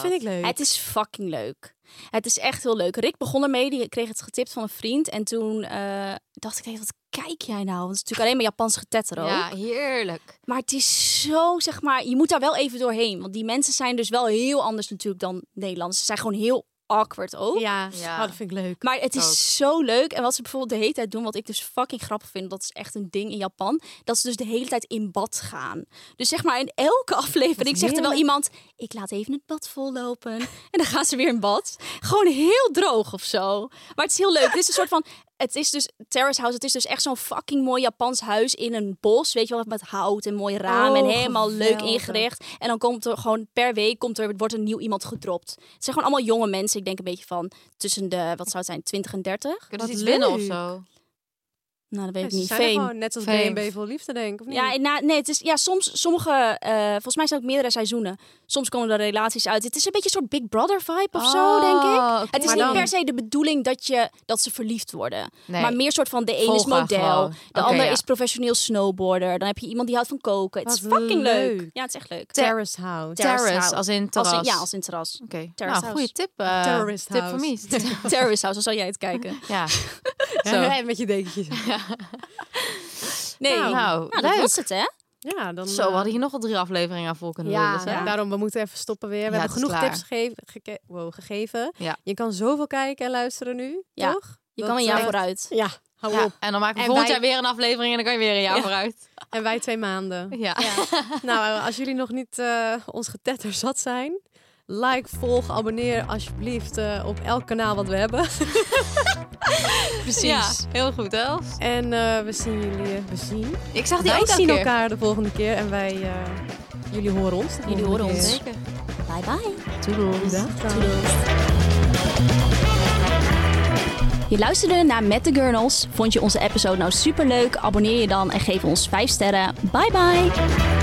[SPEAKER 2] is fucking leuk. Het is echt heel leuk. Rick begon ermee, die kreeg het getipt van een vriend. En toen eh, dacht ik, hey, wat kijk jij nou? Want het is natuurlijk alleen maar Japans getetter ook.
[SPEAKER 3] Ja, heerlijk.
[SPEAKER 2] Maar het is zo, zeg maar, je moet daar wel even doorheen. Want die mensen zijn dus wel heel anders natuurlijk dan Nederlanders. Ze zijn gewoon heel awkward ook.
[SPEAKER 1] Ja, Oh, dat vind ik leuk.
[SPEAKER 2] Maar het is zo leuk. En wat ze bijvoorbeeld de hele tijd doen, wat ik dus fucking grappig vind, dat is echt een ding in Japan, dat ze dus de hele tijd in bad gaan. Dus zeg maar in elke aflevering zegt er wel
[SPEAKER 5] heerlijk.
[SPEAKER 2] iemand, ik laat even het bad vollopen. En dan gaan ze weer in bad. Gewoon heel droog of zo. Maar het is heel leuk. Het is een soort van, het is dus Terrace House, het is dus echt zo'n fucking mooi Japans huis in een bos. Weet je wel, met hout en mooi raam en
[SPEAKER 5] Oh,
[SPEAKER 2] helemaal leuk
[SPEAKER 5] geweldig.
[SPEAKER 2] ingericht. En dan komt er gewoon per week komt er, wordt er nieuw iemand gedropt. Het zijn gewoon allemaal jonge mensen. Ik denk een beetje van tussen de, wat zou het zijn, 20 en 30.
[SPEAKER 3] Kunnen ze iets winnen of zo?
[SPEAKER 2] Nou, dat weet
[SPEAKER 1] Ja,
[SPEAKER 2] ik
[SPEAKER 1] ze
[SPEAKER 2] niet.
[SPEAKER 1] zijn er
[SPEAKER 2] Fame.
[SPEAKER 1] gewoon net als B&B vol liefde, denk ik. Of niet?
[SPEAKER 2] Ja, en na, nee, het is, ja, soms, sommige, eh, volgens mij zijn ook meerdere seizoenen. Soms komen er relaties uit. Het is een beetje een soort Big Brother vibe of zo,
[SPEAKER 3] Oh,
[SPEAKER 2] denk ik.
[SPEAKER 3] oké.
[SPEAKER 2] Het is
[SPEAKER 3] Maar
[SPEAKER 2] niet
[SPEAKER 3] dan-
[SPEAKER 2] per se de bedoeling dat, je, dat ze verliefd worden.
[SPEAKER 3] Nee.
[SPEAKER 2] Maar meer soort van de ene is
[SPEAKER 3] Volgen
[SPEAKER 2] model,
[SPEAKER 3] gewoon.
[SPEAKER 2] de
[SPEAKER 3] Oké,
[SPEAKER 2] ander
[SPEAKER 3] ja.
[SPEAKER 2] is professioneel snowboarder. Dan heb je iemand die houdt van koken. Het is
[SPEAKER 3] Wat
[SPEAKER 2] fucking leuk.
[SPEAKER 3] leuk.
[SPEAKER 2] Ja, het is echt leuk.
[SPEAKER 1] Terrace House.
[SPEAKER 3] Terrace, als in terras.
[SPEAKER 2] ja, als in terras.
[SPEAKER 3] Oké.
[SPEAKER 2] Terrace House.
[SPEAKER 3] Nou, goede tip. eh,
[SPEAKER 2] Terrorist
[SPEAKER 3] tip
[SPEAKER 2] house.
[SPEAKER 3] van Mies.
[SPEAKER 2] Terrace House, dan zal jij het kijken.
[SPEAKER 3] Ja.
[SPEAKER 1] Ja, met je dekentjes.
[SPEAKER 2] Nee,
[SPEAKER 1] Nou,
[SPEAKER 2] nou, dat
[SPEAKER 3] leuk.
[SPEAKER 2] was het, hè?
[SPEAKER 1] Ja, dan... eh,
[SPEAKER 3] Zo,
[SPEAKER 2] eh,
[SPEAKER 3] we hadden hier nog wel drie afleveringen aan vol kunnen dus, eh,
[SPEAKER 1] Ja, nou,
[SPEAKER 3] lullen, zeg.
[SPEAKER 1] daarom, we moeten even stoppen weer. We
[SPEAKER 3] Ja,
[SPEAKER 1] hebben
[SPEAKER 3] het is
[SPEAKER 1] genoeg
[SPEAKER 3] klaar.
[SPEAKER 1] tips gegeven. geke- wow, gegeven.
[SPEAKER 3] Ja.
[SPEAKER 1] Je kan zoveel kijken en luisteren nu,
[SPEAKER 2] Ja.
[SPEAKER 1] toch?
[SPEAKER 2] Je kan een jaar
[SPEAKER 1] eh,
[SPEAKER 2] vooruit.
[SPEAKER 1] Ja, hou
[SPEAKER 3] Ja,
[SPEAKER 1] op.
[SPEAKER 3] En dan maken we
[SPEAKER 1] En
[SPEAKER 3] volgend
[SPEAKER 1] wij-
[SPEAKER 3] jaar weer een aflevering en dan kan je weer een jaar
[SPEAKER 1] Ja.
[SPEAKER 3] vooruit.
[SPEAKER 1] En wij twee maanden.
[SPEAKER 3] Ja.
[SPEAKER 1] nou, eh, als jullie nog niet eh, ons getetter zat zijn... Like, volg, abonneer alsjeblieft eh, op elk kanaal wat we hebben.
[SPEAKER 3] Precies. heel goed, Els.
[SPEAKER 1] En eh, we zien jullie. eh, We zien.
[SPEAKER 3] Ik zag die
[SPEAKER 1] wij
[SPEAKER 3] ook elke
[SPEAKER 1] zien
[SPEAKER 3] keer.
[SPEAKER 1] elkaar de volgende keer. En wij, eh, jullie horen ons. de
[SPEAKER 2] Jullie
[SPEAKER 1] volgende
[SPEAKER 2] horen
[SPEAKER 1] keer.
[SPEAKER 2] ons. Bye bye.
[SPEAKER 3] Toedels.
[SPEAKER 2] Je luisterde naar Met de Gurnals. Vond je onze episode nou superleuk? Abonneer je dan en geef ons 5 sterren. Bye bye.